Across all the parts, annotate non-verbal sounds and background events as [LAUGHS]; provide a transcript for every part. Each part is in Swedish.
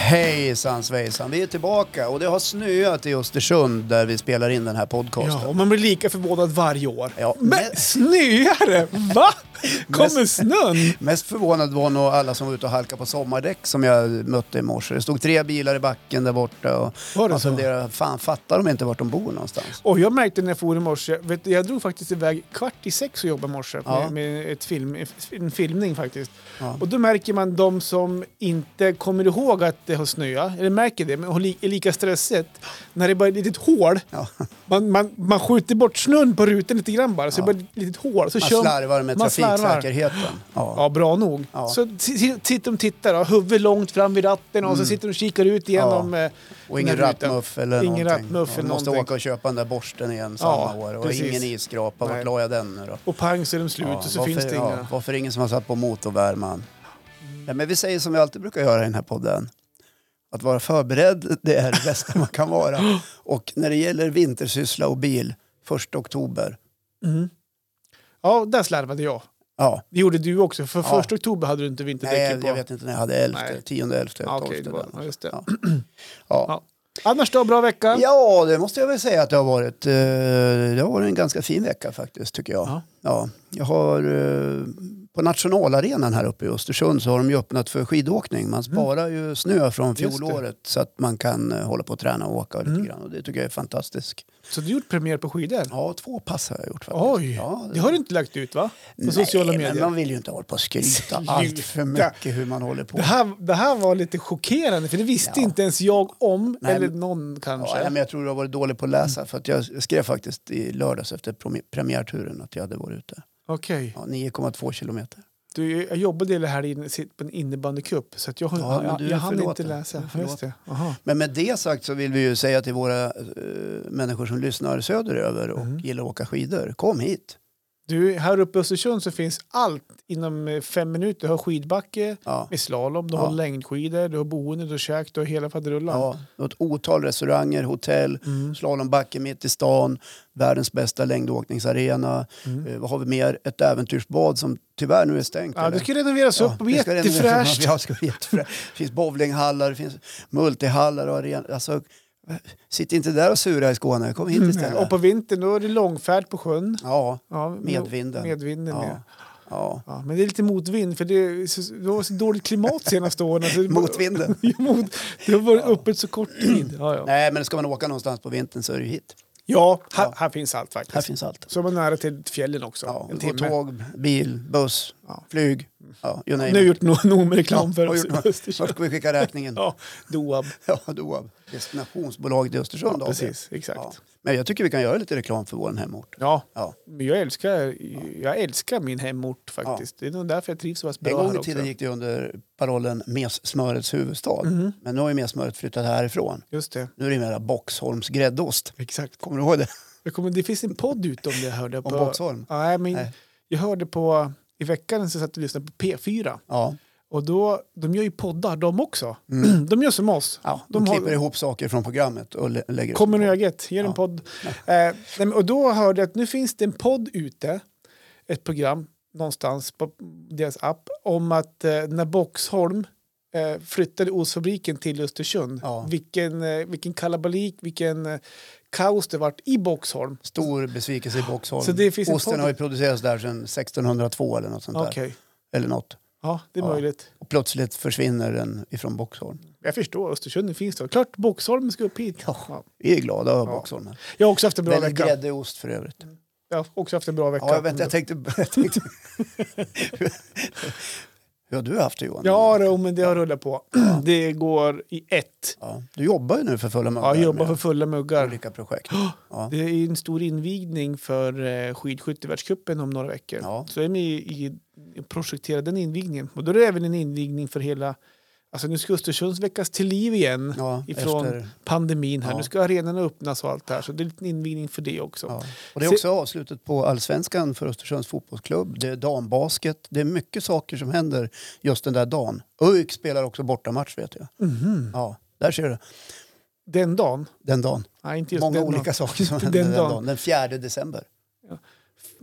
Hejsan svejsan, vi är tillbaka och det har snöat i Östersund där vi spelar in den här Ja, podcasten. och man blir lika förvånad varje år. Ja, men men- snöar det? [LAUGHS] Va? Kommer snön? Mest förvånad var nog alla som var ute och halkade på sommardäck som jag mötte i morse. Det stod tre bilar i backen där borta och Var det man så? funderade, fan fattar de inte vart de bor någonstans? Och jag märkte när jag for i morse, vet, du, jag drog faktiskt iväg kvart i sex och jobbade i morse Ja. med, med ett film, en filmning faktiskt. Ja. Och då märker man de som inte kommer ihåg att det har snöat, eller märker det, men har li, är lika stressigt. När det är bara ett litet hål, Ja. man, man, man skjuter bort snön på rutan lite grann bara, så Ja. det är bara ett litet hål. [LAUGHS] Så Man kör- slarvar med man slarvar. trafiksäkerheten. Ja. Ja, bra nog. Ja. Så t- t- sitter de och tittar, har huvudet långt fram vid ratten och så sitter de och kikar ut igenom... Mm. Ja. eh, Och ingen den här rutan. rattmuff eller Ingen någonting. rattmuff eller man måste någonting. åka och köpa den där borsten igen samma år. Och precis. ingen isskrapa, vart Nej. la jag den nu då? Och pang så är de slut Ja, och så varför- finns det ja, inga. Varför är det ingen som har satt på motorvärman? Ja, men vi säger som vi alltid brukar göra i den här podden. Att vara förberedd, det är det [LAUGHS] bästa man kan vara. Och när det gäller vintersyssla och bil, 1 oktober. Ja, där slarvade jag. Ja, Det gjorde du också, för Ja. första oktober hade du inte nej, vinterdäcken på. jag vet inte när jag hade 11, Nej. 10, 11, 12. Ja, okej, det var, ja, där. just det. Ja. Ja. Ja. Annars då, bra vecka? ja, det måste jag väl säga att det har varit. eh, Det har varit en ganska fin vecka faktiskt, tycker jag. Ja. Ja, jag har, eh, på nationalarenan här uppe i Östersund så har de ju öppnat för skidåkning. Man sparar ju snö från Mm. det. fjolåret så att man kan eh, hålla på och träna och åka lite Mm. grann. Och det tycker jag är fantastiskt. Så du gjort premiär på skidor? Ja, två pass har jag gjort faktiskt. Oj, ja, det har du inte lagt ut va? På sociala men medier. man vill ju inte hålla på och skryta Sluta. allt för mycket hur man håller på. Det här, det här var lite chockerande, för det visste Ja. inte ens jag om, Nej, eller men- någon kanske. Mm. Ja, nej, men jag tror du har varit dålig på att läsa för att jag skrev faktiskt i lördags efter premi- premiärturen att jag hade varit ute. Okej. Ja, 9,2 kilometer. Du, jag jobbade hela helgen sit- på en innebandycup så att jag, Ja, men jag, du jag, är hann inte förlåten. läsa. Du är Just det. Aha. Men med det sagt så vill vi ju säga till våra eh, människor som lyssnar söderöver och Mm. gillar att åka skidor, kom hit. Du, här uppe i Östersund så finns allt inom eh, fem minuter. Du har skidbacke Ja. med slalom, du Ja. har längdskidor, du har boende, du har käk, du har hela faderullan. Ja, det var ett otal restauranger, hotell, Mm. slalombacke mitt i stan, världens bästa längdåkningsarena. Mm. Eh, vad har vi mer? Ett äventyrsbad som tyvärr nu är stängt. Ja, det eller? ska renoveras upp och bli det ska renoveras. jättefräscht. [LAUGHS] Ja, det ska bli jättefräscht. Det finns bowlinghallar, det finns multihallar och arenor. Alltså, sitt inte där och sura i Skåne, kom hit Nej, istället. Mm, Och på vintern då är det långfärd på sjön. Ja, Ja, medvinden. medvinden Ja. ja. ja. Ja, men det är lite motvind för det, är så, det var så dåligt klimat senaste åren. [LAUGHS] Så det- [LAUGHS] Motvinden. Mot, det har varit öppet så kort tid. Ja, ja. Nej, men ska man åka någonstans på vintern så är det ju hit. Ja, här, Ja. här finns allt faktiskt. Här finns allt. Så är man nära till fjällen också. Ja, en på timme. tåg, bil, buss, Ja. flyg. Ja, you name Nu har jag it. gjort nog, nog med reklam för Har oss. gjort något. Vart ska vi skicka räkningen? [LAUGHS] ja, Doab. Ja, då av destinationsbolaget i Östersund. Ja, AB. precis, exakt. Ja. Ja. Men jag tycker vi kan göra lite reklam för vår hemort. Ja. men jag älskar, jag älskar min hemort faktiskt. Det är nog därför jag trivs så pass bra En gång här i tiden också. gick det under parollen Messmörets huvudstad. Mhm. Men nu har ju messmöret flyttat härifrån. Just det. Nu är det mera Boxholms gräddost. Exakt. Kommer du ihåg det? Jag kommer, det finns en podd utom det jag hörde. Om på, Boxholm? Nej, men Nej. jag hörde på, i veckan så satt jag och lyssnade på P4. Ja. Och då, de gör ju poddar de också. Mm. [CLEARS THROAT] De gör som oss. ja de De har- klipper ihop saker från programmet och lä- lägger upp. Kommer ur ögat, ger en Ja. podd. Eh, nej, men- och då hörde jag att nu finns det en podd ute, ett program någonstans på deras app, om att eh, när Boxholm eh, flyttade ostfabriken till Östersund, Ja. vilken, eh, vilken kalabalik, vilken eh, kaos det vart i Boxholm. Stor besvikelse i Boxholm. Så det finns en Osten podd- har ju producerats där sedan 1602 eller något sånt Okej, där. Eller något. ja det är Ja. möjligt. Och plötsligt försvinner den ifrån Boxholm. Jag förstår, Östersund finns då. Klart Boxholm ska upp hit. Ja. Vi är glada över Ja. Boxholm. här. Jag har också haft en bra Väldigt vecka. gräddig ost för övrigt. Jag har också haft en bra vecka. Ja, jag, vet, jag tänkte... [LAUGHS] Jag tänkte Hur har du haft det Johan? Ja, då, men det har rullat på. [CLEARS THROAT] Det går i ett. Ja, Du jobbar ju nu för fulla muggar Ja, jag jobbar för med fulla muggar. olika projekt. Ja. Det är en stor invigning för eh, skidskyttevärldscupen om några veckor. Ja. Så jag är med i, i projektera den invigningen. Och då är det även en invigning för hela... Alltså nu ska Östersund väckas till liv igen Ja, ifrån efter- pandemin här. Ja. Nu ska arenorna öppnas och allt det här. Så det är en liten invigning för det också. Ja. Och det är också avslutet på allsvenskan för Östersunds fotbollsklubb. Det är dambasket. Det är mycket saker som händer just den där dagen. ÖIK spelar också bortamatch vet jag. Mhm. Ja, där ser du. Den dagen? Den dagen. Nej, inte just Många den olika dagen. saker som Inte händer den [LAUGHS] den dagen. dagen. Den 4 december.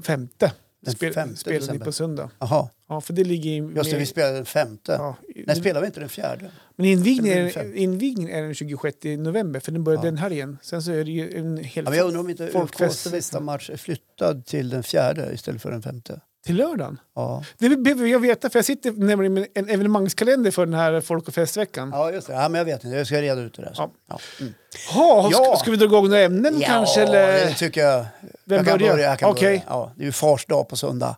Femte. Den Spel, femte spelar ni december. på söndag. Jaha, Ja, för det ligger i... just det, vi med- spelade den femte. ja, i- Nej, spelar vi inte den fjärde? Men invigningen Eller den är, invigningen är den 26 november, för den börjar Ja. den helgen. Sen så är det ju en hel Ja, men jag undrar om inte UFKs Folkfest. nästa match är flyttad till den fjärde istället för den femte. till lördagen. Ja, Det behöver jag veta, för jag sitter nämligen med en evenemangskalender för den här Folk och festveckan. ja just det. Ja, men jag vet inte, jag ska reda ut det där. sen. Ja. Ja. Mm. Ha, Ja. Ska, ska vi dra igång några ämnen kanske? Eller? det tycker jag. Vem jag kan börjar? börja. Jag kan Okej. börja. Ja, det är ju fars dag på söndag.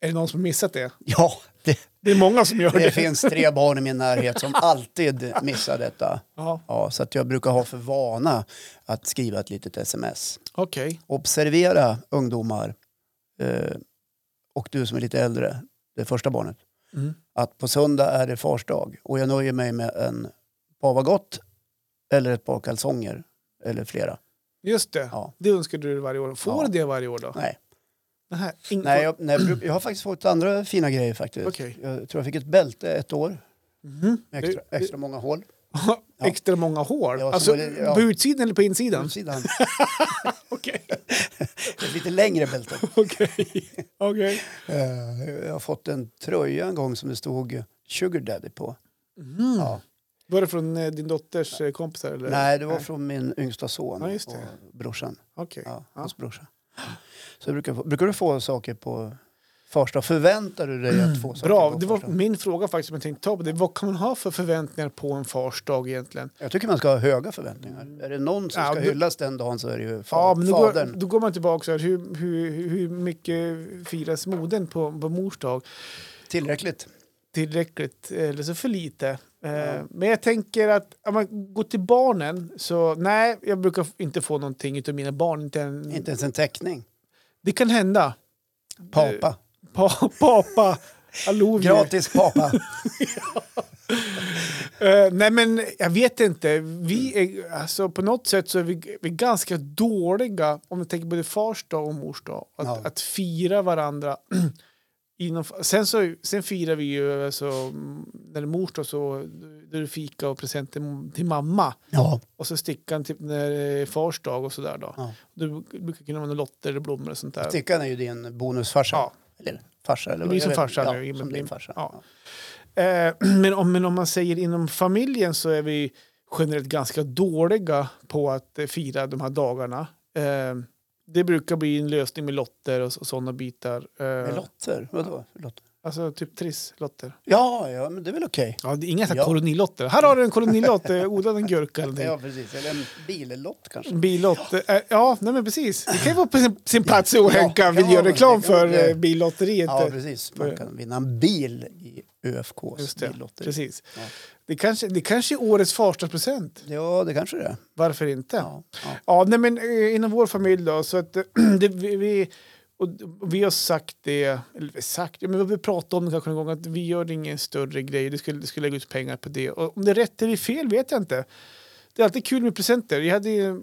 Är det någon som har missat det? Ja, det, Det är många som gör det. det finns tre barn i min närhet [LAUGHS] som alltid missar detta. Ja, Ja, så att jag brukar ha för vana att skriva ett litet sms. okej. Observera ungdomar eh, och du som är lite äldre, det första barnet, Mm. att på söndag är det fars dag och jag nöjer mig med en pavagott eller ett par kalsonger eller flera. Just det. Ja. Det önskar du dig varje år. Får Ja. du det varje år då? Nej. Nej, ing- Nej, [LAUGHS] jag, nej, jag bruk- jag har faktiskt fått andra fina grejer faktiskt. Okej. Jag tror jag fick ett bälte ett år Mhm. med extra, extra många hål Ja. extra många hål? Ja, så alltså, var det- ja. På utsidan eller på på insidan? utsidan. [LAUGHS] Okej. Ett lite längre bälte. Okej. Okej. Eh, Jag har fått en tröja en gång som det stod Sugar Daddy på. Mm. Ja. Var det från eh, din dotters eh, kompisar? Eller? Nej, det var från min yngsta son Ja, just det. och brorsan. Okej. Ja, Ja. Hans brorsa. Så jag brukar, få, brukar du få saker på första Förväntar du dig att få saker Mm. Bra, på det var första? min fråga faktiskt som jag tänkte ta på det. Vad kan man ha för förväntningar på en fars dag egentligen? Jag tycker man ska ha höga förväntningar. Är det någon som Ja, ska du- hyllas den dagen så är det ju fa- Ja, men då, går, fadern. då går man tillbaka så här, hur, hur, hur mycket firas modern på, på mors dag? Tillräckligt. Tillräckligt eller så för lite. Eh, Ja. Men jag tänker att om man går till barnen så nej, jag brukar f- inte få någonting utav mina barn. Inte en, Inte ens en teckning. Det kan hända. Papa. Pa, [LAUGHS] papa, Alovi. Gratis papa. Eh, nej, men jag vet inte. Vi är, alltså, på något sätt så är vi, vi är ganska dåliga, om vi tänker både fars dag och mors dag, att, Ja. att fira varandra. [CLEARS THROAT] Inom, sen, så, sen firar vi ju, alltså, mm, när det är mors dag så då är det fika och present till, till mamma. ja. Och så stickan typ när det är fars dag och sådär då. Ja. Det brukar kunna vara några lotter eller blommor och sånt där. Stickan är ju din bonusfarsa. Ja. Eller farsa. Eller, Det blir jag som vet- farsa nu, i Ja, och som med- din farsa. ja. Eh, [CLEARS THROAT] men, om, men om man säger inom familjen så är vi generellt ganska dåliga på att eh, fira de här dagarna. Eh, det brukar bli en lösning med lotter och, och sådana bitar. Med Eh, lotter? Vadå? för Lotter. alltså typ trisslotter. Ja, ja, men det är väl okej. Ja, det är inga så här Ja. kolonilotter. Här har du en kolonilott, eh, odla en gurka eller någonting. Ja, precis. Eller en billott kanske. En Billott. eh, Ja, nej men precis. Det kan ju vara på sin, sin plats att Henka vill ja, göra reklam det kan vara för det. eh, billotteriet. Ja, eh, precis. Man kan vinna en bil i ÖFKs Just det, billotteri. precis. Ja. Det, kanske, det kanske är årets farsdagspresent. Ja, det kanske det är. Varför inte? Ja, Ja, ja. nej, men eh, inom vår familj då, så att [CLEARS THROAT] eh, det, vi, vi, och vi har sagt det, eller sagt, ja, men vi pratade om det kanske någon gång, att vi gör ingen större grej, det skulle, det skulle lägga ut pengar på det. Och om det är rätt eller fel vet jag inte. Det är alltid kul med presenter. Jag hade ju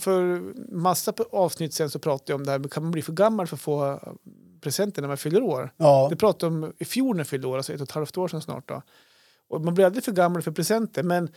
för massa på- avsnitt sen så pratade jag om det här, men kan man bli för gammal för att få eh, presenter när man fyller år? Ja, Det pratade om i fjol när jag fyllde år, alltså ett och ett halvt år sedan snart. Då. Och man blir aldrig för gammal för presenter, men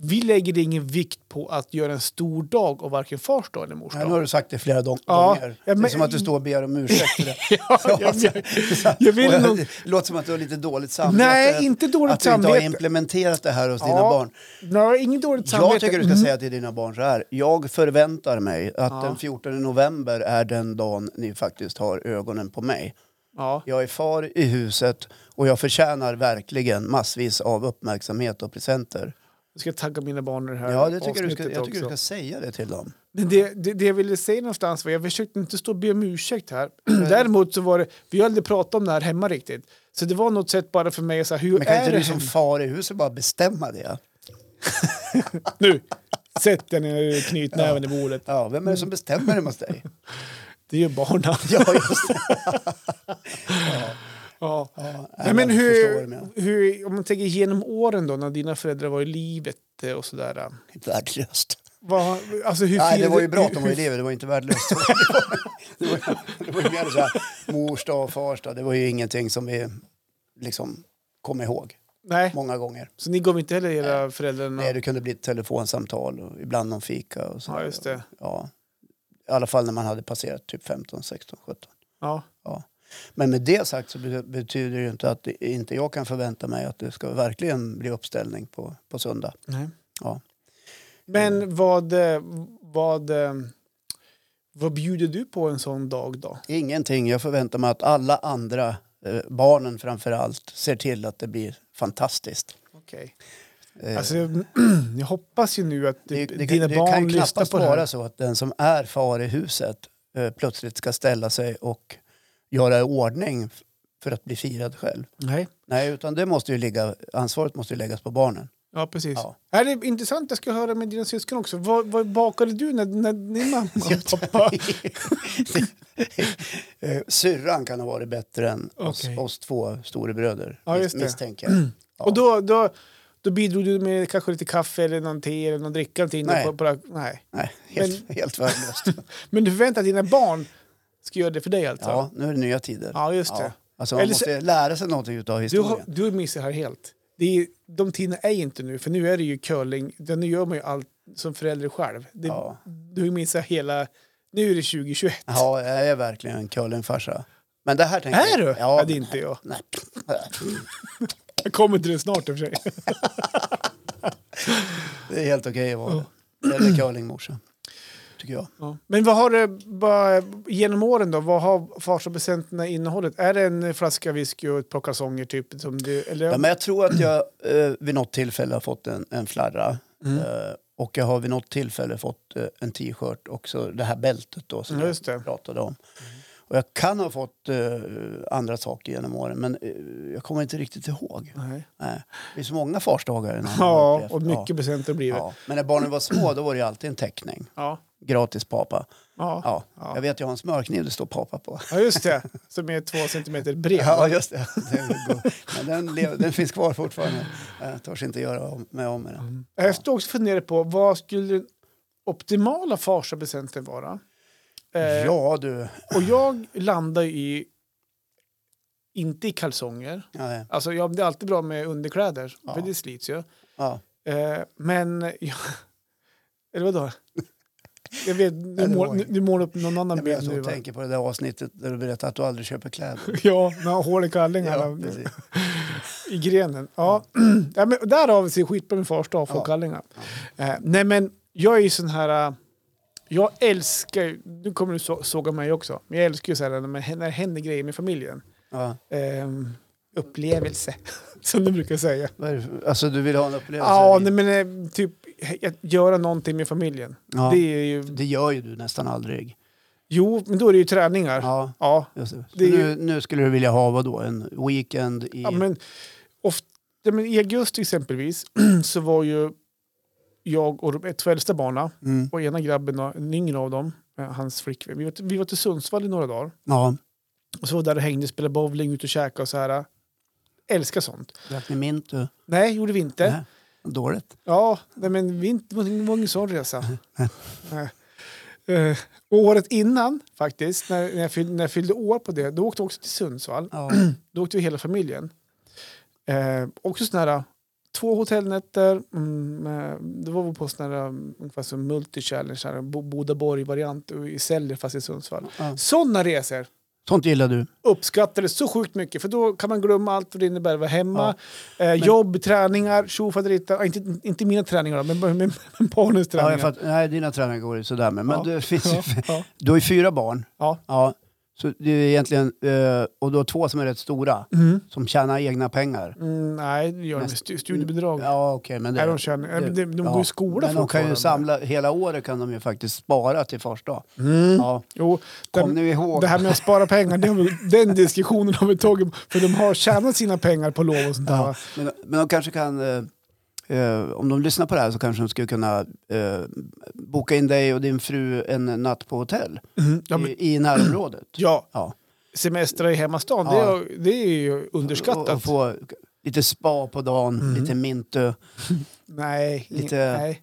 vi lägger ingen vikt på att göra en stor dag av varken fars dag eller mors Nej, nu har dag. du sagt det flera dong- Ja, gånger. ja, det är men- som att du står och ber om ursäkt för det. [LAUGHS] [LAUGHS] Ja, [LAUGHS] Ja, jag- alltså, jag- så- jag vill och nog- Det låter som att du har lite dåligt samvete. Nej, inte dåligt att du inte har samvete. implementerat det här hos dina Ja, barn. Nej, inget dåligt samvete. Jag tycker du ska säga till dina barn så här. Jag förväntar mig att Ja. den 14 november är den dagen ni faktiskt har ögonen på mig. Ja, Jag är far i huset och jag förtjänar verkligen massvis av uppmärksamhet och presenter. jag ska tagga mina barn i det här Ja, det tycker jag du ska, avsnittet jag tycker du också. ska säga det till dem. Men det, det, det jag ville säga någonstans var, jag försökte inte stå och be om ursäkt här. Däremot så var det, vi har aldrig pratat om det här hemma riktigt. Så det var något sätt bara för mig att säga, hur Men kan är inte det du som hemma? far i huset bara bestämma det? Nu sätter jag ner knytnäven i bordet. Ja, vem är det som bestämmer hemma hos dig? Det är ju barnen. Ja, just det. Ja. Ja, Nej, men jag förstår vad hur, du menar. hur, om man tänker genom åren då, när dina föräldrar var i livet eh, och sådär. [LAUGHS] Värdelöst. Vad, alltså hur Nej, det firade- var ju bra att de hur- var elever, det var inte [LAUGHS] värdelöst. Det var- det var- det var ju mer så här, morsdag och farsdag, det var ju ingenting som vi liksom kom ihåg Nej, många gånger. så ni gav inte heller era föräldrar Nej, någon... det kunde bli ett telefonsamtal och ibland någon fika och så. Ja, just det. Ja. I alla fall när man hade passerat typ 15, 16, 17. Ja. Ja. Men med det sagt så be- betyder det ju inte att det- inte jag kan förvänta mig att det ska verkligen bli uppställning på, på söndag. Nej. Ja. Men vad, eh, vad, eh, vad bjuder du på en sån dag då? Ingenting. Jag förväntar mig att alla andra, eh, barnen framför allt, ser till att det blir fantastiskt. Okej. Eh, Alltså, [CLEARS THROAT] jag hoppas ju nu att det, du, det, dina det kan barn ju lyssnar knappast på det här. vara så att den som är far i huset eh, plötsligt ska ställa sig och göra i ordning f- för att bli firad själv. Nej. Nej, utan det måste ju ligga, ansvaret måste ju läggas på [LAUGHS] barnen. Ja, precis. Ja. Är det intressant, jag ska höra med dina syskon också. Vad, vad bakade du när, när din mamma och pappa... Eh, Syrran kan ha varit bättre än Okej. oss, oss två storebröder, Ja, mis- just det. misstänker jag. Ja. Och då, då, då bidrog du med kanske lite kaffe eller någon te eller någon dricka. Någonting Nej. På, på, det här- nej. Nej, helt, helt [LAUGHS] värdelöst. Men du förväntar dig att dina barn ska göra det för dig alltså? Ja, nu är det nya tider. Ja, just det. Alltså man Eller så- måste lära sig någonting av Du, har, historien. du missar här helt. Det är, de tiderna är inte nu, för nu är det ju curling. Det- Nu gör man ju allt som förälder själv. Det, Ja. Du missar hela... Nu är det 2021. Ja, jag är verkligen en curlingfarsa. Men det här tänker Är du? jag... Ja, Ja, det är inte jag. nej. [LAUGHS] Jag kommer till det snart i och för sig. Det är helt okej att vara det. Eller curlingmorsa, tycker jag. Ja. Men vad har du bara, genom åren då? Vad har farsapresenterna innehållit? Är det en flaska whisky och ett par kalsonger typ? Som du, eller? Ja, men jag tror att jag eh, vid något tillfälle har fått en, en flarra. Mm. Eh, och jag har vid något tillfälle fått eh, en t-shirt och så det här bältet då som Ja, just det. jag pratade om. Och jag kan ha fått eh, andra saker genom åren men eh, jag kommer inte riktigt ihåg. Nej. Nej. Det är så många farsdagar. den här har Ja, upplevt. och mycket presenter blir Ja. det. Ja. Men när barnen var små då var det ju alltid en teckning. Ja. Gratis pappa. Ja. Ja. Ja. Jag vet jag har en smörkniv det står pappa på. just det. Som är två centimeter bred. Ja, just det. Den, är god. Men den, lev- den finns kvar fortfarande. Jag törs inte göra om- mig av med den. Jag stod också och funderade på vad skulle den optimala farsapresenten vara? Eh, Ja, du. Och jag landar ju i, inte i kalsonger. Ja, Alltså ja, det är alltid bra med underkläder, Ja. för det slits ju. ja. Eh, men, ja, [LAUGHS] eller vadå? [LAUGHS] Jag vet, det du, var mål, nu- inget. du målar upp någon annan Jag blir bild så nu och va? tänker på det där avsnittet där du berättade att du aldrig köper kläder. [LAUGHS] Ja, med hål i Ja, kallingarna precis. i grenen. Ja. [CLEARS THROAT] ja, men därav ser skitbra min fars dag, få Ja. kallingar. Eh, nej men, jag är ju sån här... eh, Jag älskar ju, nu kommer du så, såga mig också, men jag älskar ju så här när, man, när det händer grejer med familjen. Ja. Ehm, upplevelse, [LAUGHS] som du brukar säga. Vad är det för- Alltså, du vill ha en upplevelse? Ja, nej, men eh, typ he- att göra någonting med familjen. Ja. Det är ju, Det gör ju du nästan aldrig. jo, men då är det ju träningar. Ja. Ja, Ja, just det. Så Det är ju- nu, nu skulle du vilja ha vad då? En weekend i... men, oft, ja, men I augusti exempelvis [CLEARS THROAT] så var ju jag och de två äldsta barnen Mm. och ena grabben, och en yngre av dem, eh, hans flickvän, vi var, till- vi var till Sundsvall i några dagar. Ja, Och så var vi där och hängde, spelade bowling, ute och käkade och så här. Älskar sånt. drack ni mint? Du? Nej, gjorde vi inte. Nej, Dåligt. Ja, nej, men vi inte, det var ingen sån resa. [LAUGHS] Nej. Eh, och året innan faktiskt, när, när, jag fyllde, när jag fyllde år på det, då åkte vi också till Sundsvall. Ja. Då åkte vi hela familjen. Eh, också sådana här två hotellnätter. Mm, eh, då var vi på sådana här um, ungefär som multi-challenge, här, Bo- Bodaborg-variant och i Säljer fast i Sundsvall. Ja. Sådana resor [CLEARS THROAT] Sånt gillar du. uppskattades så sjukt mycket för då kan man glömma allt vad det innebär att vara hemma. eh, Men- Jobb, träningar, tjofaderittar. Ah, inte, inte mina träningar då, men, men, men barnens Ja, träningar. jag fatt, nej, dina träningar går ju sådär med. Men Ja. du, [LAUGHS] finns, ju- Ja, ja. du har ju fyra barn. Ja. Ja, så det är egentligen, eh, och du har två som är rätt stora, Mm. som tjänar egna pengar. Mm, nej, det gör de med stu- studiebidrag. Ja, okej, men det... nej, de, tjänar, det- de, de ja. går i skola Men de kan ju fortfarande. samla, hela året kan de ju faktiskt spara till fars dag. Mm. Ja, Jo, kom den, nu ihåg. det här med att spara pengar, det har vi, den diskussionen har vi tagit. För de har tjänat sina pengar på lov och sånt där. ja. men, men de kanske kan, eh, eh, om de lyssnar på det här så kanske de skulle kunna eh, boka in dig och din fru en natt på hotell Mm. Ja, men, i, i närområdet. ja, Ja. semestra i hemmastan, Ja. det, är- det är ju Och, och underskattat. få lite spa på dagen, Mm. lite mintu, Nej, Lite- nej.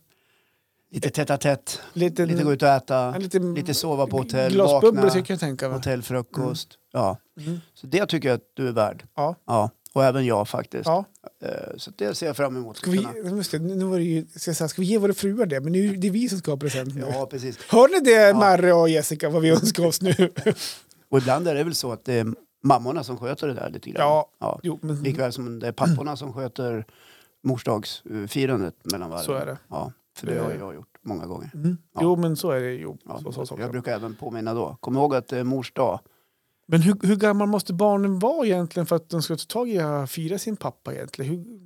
lite tätt-a-tätt, Lite, lite gå ut och äta. en liten- Lite sova på hotell, Mm. Glasbubblor vakna, tycker jag tänka mig. hotellfrukost. Ja. Mm. Så det tycker jag att du är värd. Ja. Ja. Och även jag faktiskt. Ja. Eh, Så det ser jag fram emot. Ska, vi, Kunna- just det, nu var det ju, ska, jag säga, ska vi ge våra fruar det? Men nu, det är vi som ska ha present nu. Ja, precis. Hör ni det, Marre och Jessica, vad vi önskar oss nu? Och ibland är det väl så att det är mammorna som sköter det där lite grann. [LAUGHS] Ja. Mm. Ja. Jo, men Likväl som det är papporna som sköter morsdagsfirandet mellan varven. så är det. Ja, för det har jag gjort många gånger. Mm. Ja. Jo, men så är det. Jo, Ja. så, så, så. jag brukar även påminna då. Kom ihåg att det är mors dag. Men hur, hur gammal måste barnen vara egentligen för att de ska ta tag i att fira sin pappa egentligen? Hur...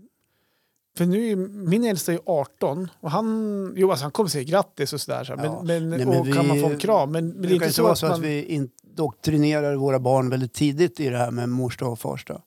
För nu är min äldsta är 18 och han, jo, alltså han kommer säga grattis och sådär. Så. här, Ja. Men, men, Nej, men och kan vi- man få en kram? Men, men Det det är brukar inte inte så vara att så att, man... vi indoktrinerar våra barn väldigt tidigt i det här med mors dag och fars dag.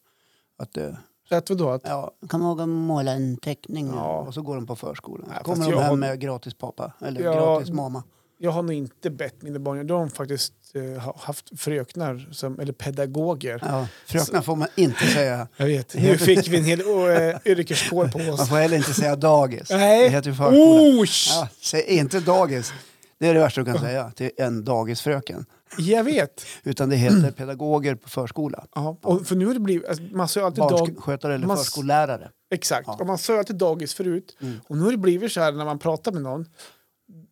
Att det, Att vadå? Att, ja, kom ihåg att måla en teckning Ja. och så går de på förskolan. Ja, Så fast kommer de jag hem har- med gratis pappa eller Ja. gratis mamma. jag har nog inte bett mina barn, de har faktiskt eh, ha- haft fröknar som, eller pedagoger. Ja, fröknar får man inte säga. [LAUGHS] Jag vet, nu fick vi en hel eh, yrkeskår på Man oss. får heller inte säga dagis. Nej. Det heter ju förskola. Oh, Ja, säg inte dagis. Det är det värsta du kan säga till en dagisfröken. Jag vet. Utan det heter [CLEARS THROAT] pedagoger på förskola. Ja. Och för nu har det blivit, alltså, man sa ju alltid dag... Barnskötare eller man- förskollärare. Exakt, Ja. och man sa ju alltid dagis förut. Mm. Och nu har det blivit så här när man pratar med någon.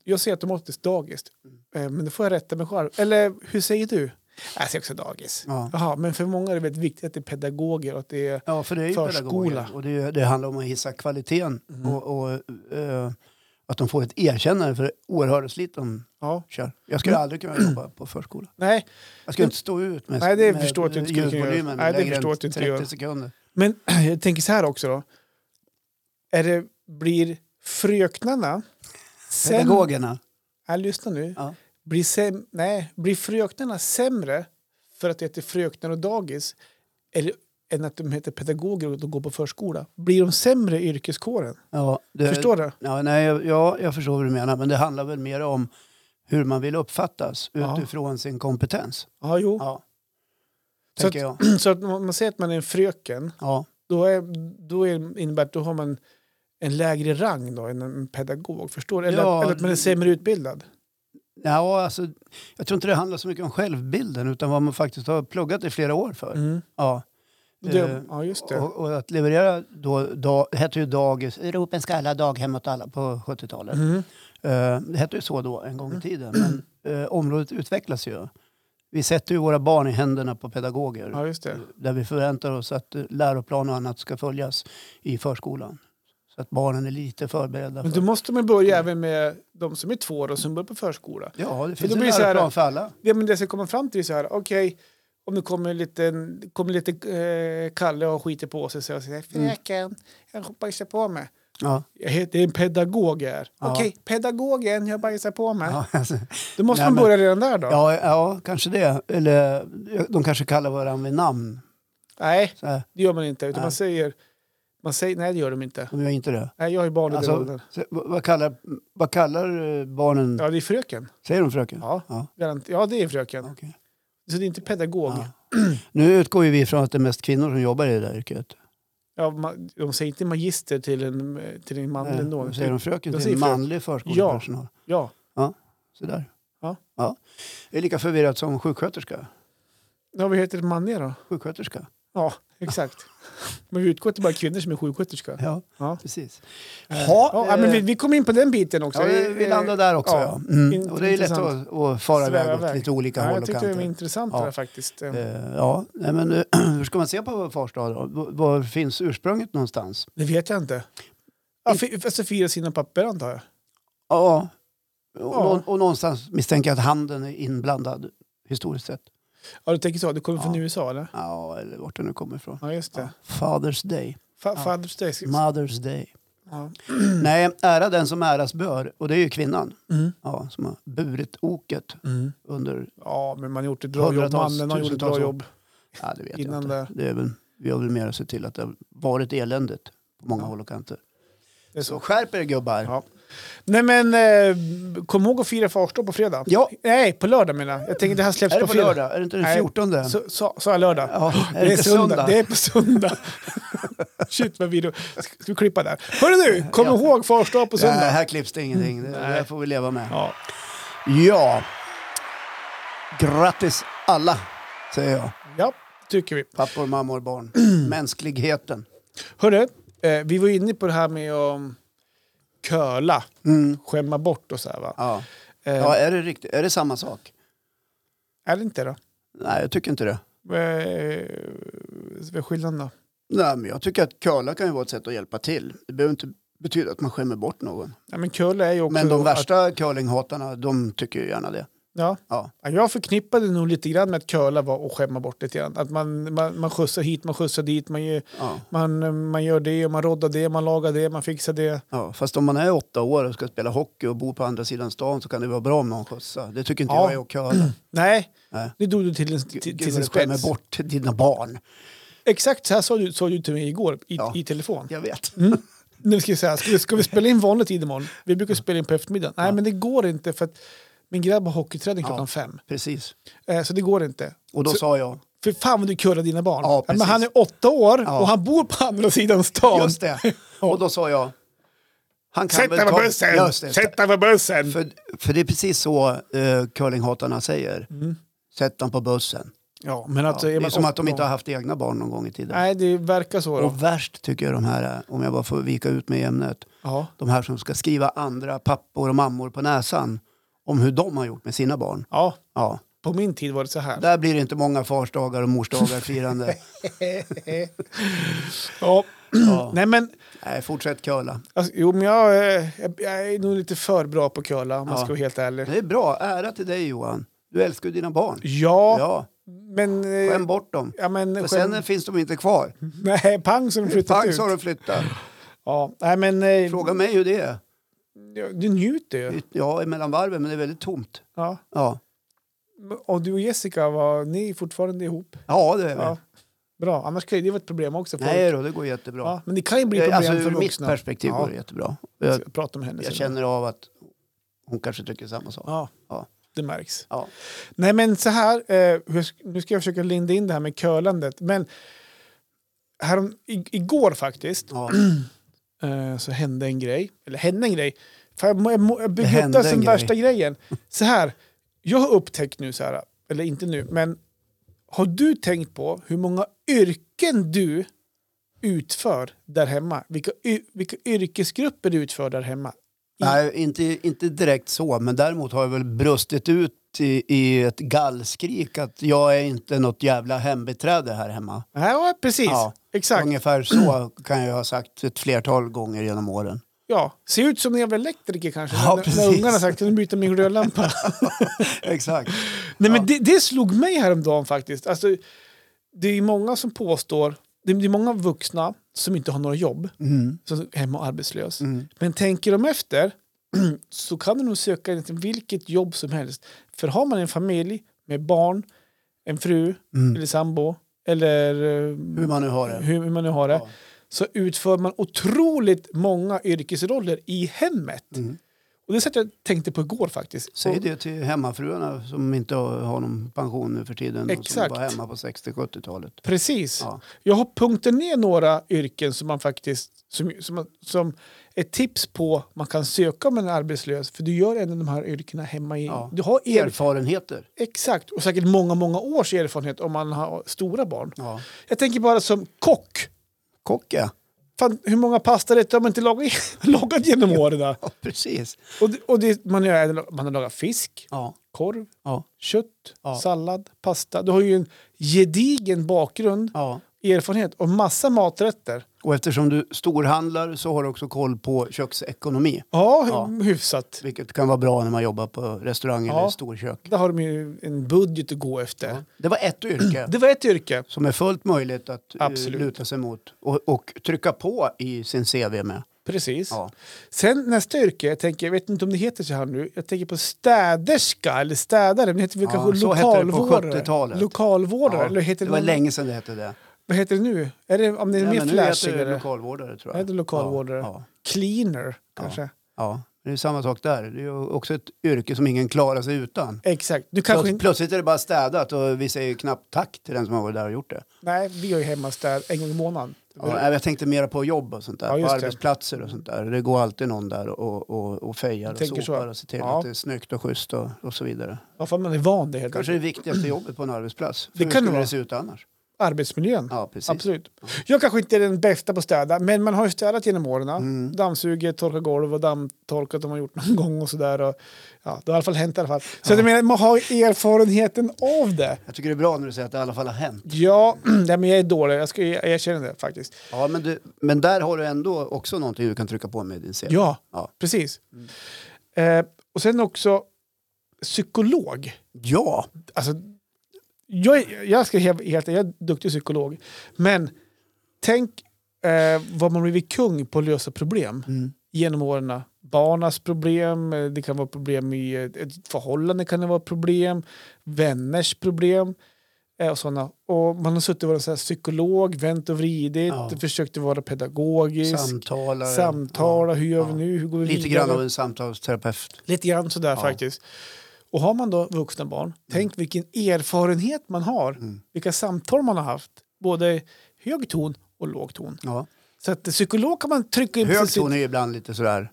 Jag säger automatiskt dagis, Mm. Eh, men då får jag rätta mig själv. Eller hur säger du? Jag säger också dagis. Ja. Jaha, men för många är det väldigt viktigt att det är pedagoger och att det är... Ja, för det är ju Förskola. Mm. pedagoger. Och det, är ju- det handlar om att hissa kvaliteten och, och eh, att de får ett erkännande för det oerhörda slit de Ja. kör. Jag Mm. skulle aldrig kunna jobba på förskola. Nej, Jag skulle inte stå ut med, Mm. Nej, det med förstår jag att du inte skulle kunna göra. ljudvolymen Nej, det längre förstår jag än att du inte 30 gör. sekunder. men [CLEARS THROAT] jag tänker så här också då. Är det, blir fröknarna... säm- Pedagogerna. Ja, Äh, lyssna nu. Ja. Blir, säm, nej, blir fröknarna sämre för att det heter fröknar och dagis eller, än att de heter pedagoger och de går på förskola? Blir de sämre i yrkeskåren? Ja, det, Förstår du? Ja, nej, jag- ja, jag förstår vad du menar. Men det handlar väl mer om hur man vill uppfattas Ja. utifrån sin kompetens. Ja, jo. Ja. Så Tänker jag. [CLEARS THROAT] Så att om man säger att man är en fröken, Ja. då, är, då är, innebär att då har man en lägre rang då än en pedagog, förstår du? Eller, Ja, att, eller att man är sämre utbildad. Ja, alltså, jag tror inte det handlar så mycket om självbilden utan vad man faktiskt har pluggat i flera år för. Mm. Ja. Eh, Det, ja, just det. Och, och att leverera då, da, hette ju dagis, ropen ska alla, daghem åt alla på 70-talet. Mm. Eh, det hette ju så då en gång i tiden. Men eh, området utvecklas ju. Vi sätter ju våra barn i händerna på pedagoger. Ja, just det. Där vi förväntar oss att eh, läroplan och annat ska följas i förskolan. Så att barnen är lite förberedda. Men För, då måste man börja även med de som är två år och som börjar på förskola. ja, det finns då en blir det så här- läroplan för alla. Ja, men det jag ska komma fram till är så här, okej, om det kommer lite, kommer lite eh, Kalle och skiter på sig så jag säger Mm. fröken, jag har bajsat på mig. Ja. Jag heter, det är en pedagog jag är. Ja. Okej, pedagogen, jag bajsar på mig. Ja, [LAUGHS] alltså, Då måste Nej, man men- börja redan där då? ja, ja, kanske det. Eller ja, de kanske kallar varandra vid namn. Nej, Så här, det gör man inte. Utan Nej. man, säger, man säger, nej det gör de inte. de gör inte det. Nej, jag har ju barn i Alltså- den åldern. Så, vad, vad kallar, vad kallar eh, barnen... Ja, det är fröken. Säger de fröken? Ja, Ja. garant, ja det är fröken. okej. Så det är inte pedagog. Ja. Ja. Nu utgår ju vi från att det är mest kvinnor som jobbar i det där yrket. man, de säger inte magister till en, till en man Eh, ändå. säger de fröken de till säger en fröken. manlig förskolepersonal? Ja, Sådär. Ja. ja. Det är lika förvirrat som sjuksköterska. ja vad heter manliga då? Sjuksköterska. Ja, exakt. Men vi utgår till bara kvinnor som är sjuksköterska. Ja, Ja. precis. Ja, ja, men vi, eh, vi kom in på den biten också. ja, vi, vi landar där också. Ja. ja. Mm. in- Och det är lätt intressant. att, att fara Sväva iväg åt iväg. lite olika Ja, håll jag och tyckte det kanter. var intressant Ja. det där faktiskt. Eh, ja, nej, men eh, [CLEARS THROAT] hur ska man se på fars dag då? Var- Var finns ursprunget någonstans? Det vet jag inte. Ja, fi- alltså fira sina papper antar jag. Ja, och, Ja. nå- och någonstans misstänker jag att handeln är inblandad historiskt sett. Ja, du tänker så. Du kommer från Ja. USA eller? Ja, eller vart den nu kommer ifrån. Ja, just det. Father's Day. Fa- Ja. Fathers Day. ska- Mother's Day. [CLEARS THROAT] Ja. Nej, ära den som äras bör. Och det är ju kvinnan Mm. ja, som har burit oket Mm. under... ja, men man har gjort ett bra jobb. Hundratals, Mannen har gjort ett tusentals bra år. jobb. Ja, det vet Innan jag det- inte. Det är väl, vi har väl mer att se till att det har varit eländigt på många Ja. håll och kanter. Det är Så så. skärp er gubbar! Ja. Nej men, eh, kom ihåg att fira fars dag på fredag. Ja. Nej, på lördag menar jag. Jag tänker det här släpps Är det på på fredag. lördag? Är det inte den Nej. 14? Så- Sa sa jag lördag? Ja, Är [GASPS] det, är söndag? Det är [LAUGHS] på söndag. Shit vad video. Ska, ska vi klippa där? Hörru du, kom Ja. ihåg fars dag på Nej, söndag. här klipps det ingenting. Det, det här Nej. får vi leva med. Ja. Ja. Grattis alla, säger jag. ja, tycker vi. Pappor, mammor, [CLEARS THROAT] barn. Mänskligheten. Hörru, eh, vi var ju inne på det här med att köla, Mm. skämma bort och så här va? Ja. Eh, ja, är det riktigt? Är det samma sak? Är det inte då? Nej, jag tycker inte det. Vad är vad är skillnaden då? Nej, men jag tycker att curla kan ju vara ett sätt att hjälpa till. Det behöver inte betyda att man skämmer bort någon. Ja, men curl är ju också... Men de att- värsta curlinghatarna, de tycker ju gärna det. Ja. Ja. Ja, Jag förknippade nog lite grann med att curla var och skämma bort lite grann. Att man, man, man skjutsar hit, man skjutsar dit, man, gör- Ja, man, eh, man gör det, man roddar det, man lagar det, man fixar det. ja. Fast om man är åtta år och ska spela hockey och bor på andra sidan stan så kan det vara bra om någon skjutsar. Det tycker inte Ja. jag är att curla. Nej, Nej. nu drog du till, en- Gud, till, till Gud vad sin du skämmer spets. bort dina barn. Exakt så här sa du, sa du till mig igår i, Ja. i telefon. Jag vet. Mm. Nu ska, jag säga, ska, vi, ska vi spela in vanlig tid imorgon? Vi brukar spela in på eftermiddagen. Nej, Ja. men det går inte för att min grabb har hockeyträning Ja. klockan fem. [LAUGHS] Precis. Eh, så det går inte. Och då Så- sa jag, För fan vad du curlar dina barn. Ja, men precis. han är åtta år Ja. och han bor på andra sidan stan. just [LAUGHS] det. Och då sa jag, han kan Sätt väl dig på ta... bussen! Just det. Sätt dig på bussen! För, för det är precis så eh, curlinghatarna säger. Mm. Sätt dem på bussen. Ja, men Ja, alltså, det är är man som att de åtta inte har år- haft egna barn någon gång i tiden. Nej, det verkar så. Då. Och värst tycker jag de här, om jag bara får vika ut med ämnet, Ja. de här som ska skriva andra pappor och mammor på näsan om hur de har gjort med sina barn. ja, Ja. på min tid var det så här. Där blir det inte många farsdagar och [LAUGHS] morsdagar firande. ja. Ja. [CLEARS THROAT] Nej, men, Nej, fortsätt curla. alltså, jo, men jag, eh, jag, jag är nog lite för bra på att curla om man Ja. Mm. ska vara helt ärlig. Det är bra, ära till dig Johan. Du älskar ju dina barn. Ja, Ja, men... eh, skäm bort dem. Ja, Mm. men För skäm- sen finns de inte kvar. [LAUGHS] Nej, pang som flyttat Pang ut. så har de flyttat. Ja, nej, men eh, Fråga mig hur det är. du njuter ju. Ja, mellan varven, men det är väldigt tomt. Ja. Ja, Och du och Jessica, var ni är fortfarande ihop? ja det är vi. Ja. Bra, annars kan ju det vara ett problem också. För Nej då, det går jättebra. ja, men det kan ju bli problem alltså, för ur mitt vuxna. perspektiv Ja. går det jättebra. Jag, Jag pratar om henne jag sen. känner av att hon kanske tycker samma sak. Ja, Ja. det märks. Ja. Nej, men så här, eh, hur sk- nu ska jag försöka linda in det här med kölandet. Men härom, i, igår faktiskt [CLEARS THROAT] Ja. eh, så hände en grej. Eller hände en grej. För jag, må- jag, må- jag bygger upp hände det som en grej. värsta grejen. Så här, jag har upptäckt nu så här, eller inte nu, men har du tänkt på hur många yrken du utför där hemma? Vilka, y- vilka yrkesgrupper du utför där hemma? Nej, inte, inte direkt så, men däremot har jag väl brustit ut i, i ett gallskrik att jag är inte något jävla hembiträde här hemma. Ja, precis. Ja. Exakt. Ungefär så kan jag ha sagt ett flertal gånger genom [LAUGHS] åren. Ja, se ut som en jävla elektriker kanske. Ja, när, när precis. ungarna sagt kan du byta min glödlampa. Exakt. Nej, men det, det slog mig häromdagen faktiskt. Alltså, det är många som påstår, det är många vuxna som inte har några jobb, Mm. som är hemma och arbetslös. Mm. Men tänker de efter [CLEARS THROAT] så kan de nog söka till vilket jobb som helst. För har man en familj med barn, en fru Mm. eller sambo eller eh, Hur man nu har det. hur man nu har det, Ja. så utför man otroligt många yrkesroller i hemmet. Mm. Och det satt jag tänkte på igår faktiskt. Säg Och- det till hemmafruarna som inte har har någon pension nu för tiden Exakt. och som var hemma på 60-70-talet. Precis. Ja. Jag har punktat ner några yrken som man faktiskt som, som, som ett tips på man kan söka om man är arbetslös. För du gör ändå de här yrkena hemma. I, Ja. Du har er, Erfarenheter. exakt, och säkert många, många års erfarenhet om man har stora barn. Ja. Jag tänker bara som kock. Kock ja. Fan, hur många pastarätter har man inte lagat, [LAUGHS] lagat genom åren? [LAUGHS] ja precis. Och, det- och det, man, gör, man har lagat fisk, Ja. korv, Ja. kött, Ja. sallad, pasta. Du har ju en gedigen bakgrund, ja. erfarenhet och massa maträtter. Och eftersom du storhandlar så har du också koll på köksekonomi. Ja, Ja. hyfsat. Vilket kan vara bra när man jobbar på restaurang Ja. eller i storkök. Där har de ju en budget att gå efter. Det var ett yrke Det var ett yrke. som är fullt möjligt att eh, Absolut. luta sig mot och, och trycka på i sin CV med. Precis. Ja. Sen nästa yrke, jag, tänker, jag vet inte om det heter så här nu, jag tänker på städerska eller städare, men det heter väl Ja, kanske så hette det på lokalvårdare? 70-talet. Lokalvårdare, Ja, eller heter det det, var någon- länge sedan det hette det. Vad heter det nu? Är det, om det är Nej, mer men nu heter det flashigare? lokalvårdare tror jag. Heter det lokalvårdare? Ja, ja, Cleaner, kanske? ja. Det är samma sak där. Det är ju också ett yrke som ingen klarar sig utan. Exakt. Du kanske Plöts- inte... Plötsligt är det bara städat och vi säger knappt tack till den som har varit där och gjort det. Nej, vi har ju hemmastäd en gång i månaden. Ja, jag tänkte mera på jobb och sånt där, Ja, på just det. arbetsplatser och sånt där. Det går alltid någon där och, och, och fejar och Tänker sopar så. och ser till Ja. att det är snyggt och schysst och, och så vidare. Varför man är van det helt Kanske enkelt. det viktigaste jobbet på en arbetsplats. För Det hur kan det skulle vara. det se ut annars? arbetsmiljön. Ja, precis. Absolut. Jag kanske inte är den bästa på att städa, men man har ju städat genom åren. Mm. Dammsugit, torkat golv och dammtorkat om man gjort någon [LAUGHS] gång och sådär. Och, ja, det har i alla fall hänt i alla fall. Så jag menar, man har ju erfarenheten av det. Jag tycker det är bra när du säger att det i alla fall har hänt. Ja, [CLEARS THROAT] nej, men jag är dålig. Jag ska jag erkänna det faktiskt. Ja, men, du, men där har du ändå också någonting du kan trycka på med i din serie. Ja, Ja. Mm. precis. Eh, och sen också psykolog. Ja, Alltså, jag, jag ska helt helt- jag är duktig psykolog. Men tänk eh, vad man blivit kung på att lösa problem genom åren. Barnas problem, eh, det kan vara problem i ett- ett förhållande, kan det vara problem, vänners problem eh, och sådana. Och man har suttit och varit så här psykolog, vänt och vridit, Ja. försökt att vara pedagogisk, samtalare. samtala, hur gör ja. vi nu, hur går vi Ja. Lite vidare? grann av en samtalsterapeut. Lite grann sådär faktiskt. Och har man då vuxna barn, Mm. tänk vilken erfarenhet man har. Vilka samtal man har haft. Både hög ton och låg ton. Ja. Så att psykolog kan man trycka in Hög precis- ton är ju ibland lite sådär.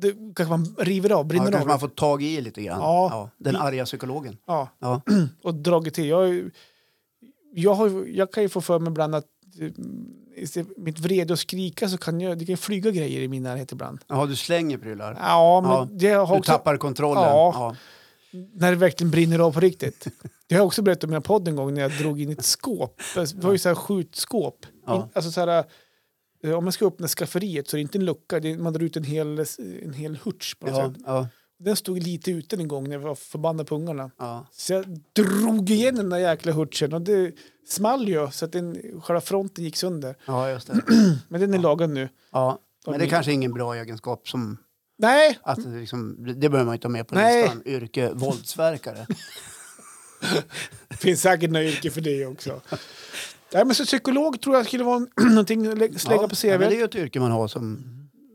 Det kanske man river av, Ja, brinner kanske av. man får tag i lite grann. Ja. Den arga psykologen. Ja, Ja. [CLEARS THROAT] och dragit till. Jag, har ju- jag, har, ju- jag kan ju få för mig ibland att eh, istället för mitt vrede och skrika så kan jag, det kan ju flyga grejer i min närhet ibland. Jaha, du slänger prylar. Ja, men Ja, det har Du också... tappar kontrollen. Ja. Ja. när det verkligen brinner av på riktigt. Det har jag också berättat om i den här podden en gång när jag drog in ett skåp. Det var ju så här skjutskåp. Ja. In, alltså så här, eh, om man ska öppna skafferiet så är det inte en lucka, det är, man drar ut en hel, en hel hurts på något Ja. sätt. Ja. Den stod lite ute en gång när jag var förbannad på ungarna. Ja. Så jag drog igen den där jäkla hurtsen och det small ju så att den, själva fronten gick sönder. ja, just det. Men den är lagad nu. Ja. Men det är kanske är ingen bra egenskap som Nej, Att det, liksom, det behöver man inte ha med på Nej. listan. Yrke våldsverkare. det finns säkert några yrke för det också. Nej, men så psykolog tror jag skulle vara en- [CLEARS THROAT] någonting att lä- slänga på ja, men det är CV. ju ett yrke man har som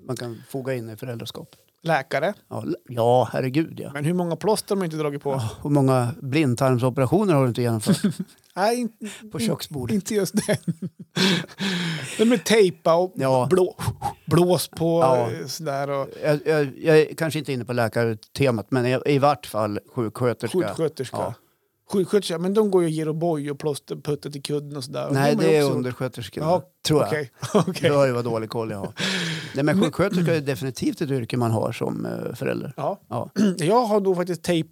man kan foga in i föräldraskap. Läkare. Ja, l- ja herregud ja. Men hur många plåster har man inte dragit på? Hur många blindtarmsoperationer har du inte [LAUGHS] genomfört Nej, in, på köksbordet? inte just den. Men med tejpa och Ja. blå, blås på Ja. eh, sådär och Jag, jag, jag är kanske inte inne på läkartemat, men jag, i vart fall sjuksköterska. sjuksköterska. Ja. Sjuksköterska, men de går ju och ger och boj och plåsterputtar till kudden och sådär. Och Nej, har man det ju är också- undersköterska, Ja, tror jag. Okej, [LAUGHS] Det okej. hör ju vad dålig koll jag [LAUGHS] har. Nej, men sjuksköterska är definitivt ett yrke man har som eh, förälder. Ja. Ja. [CLEARS THROAT] Jag har då faktiskt tejp.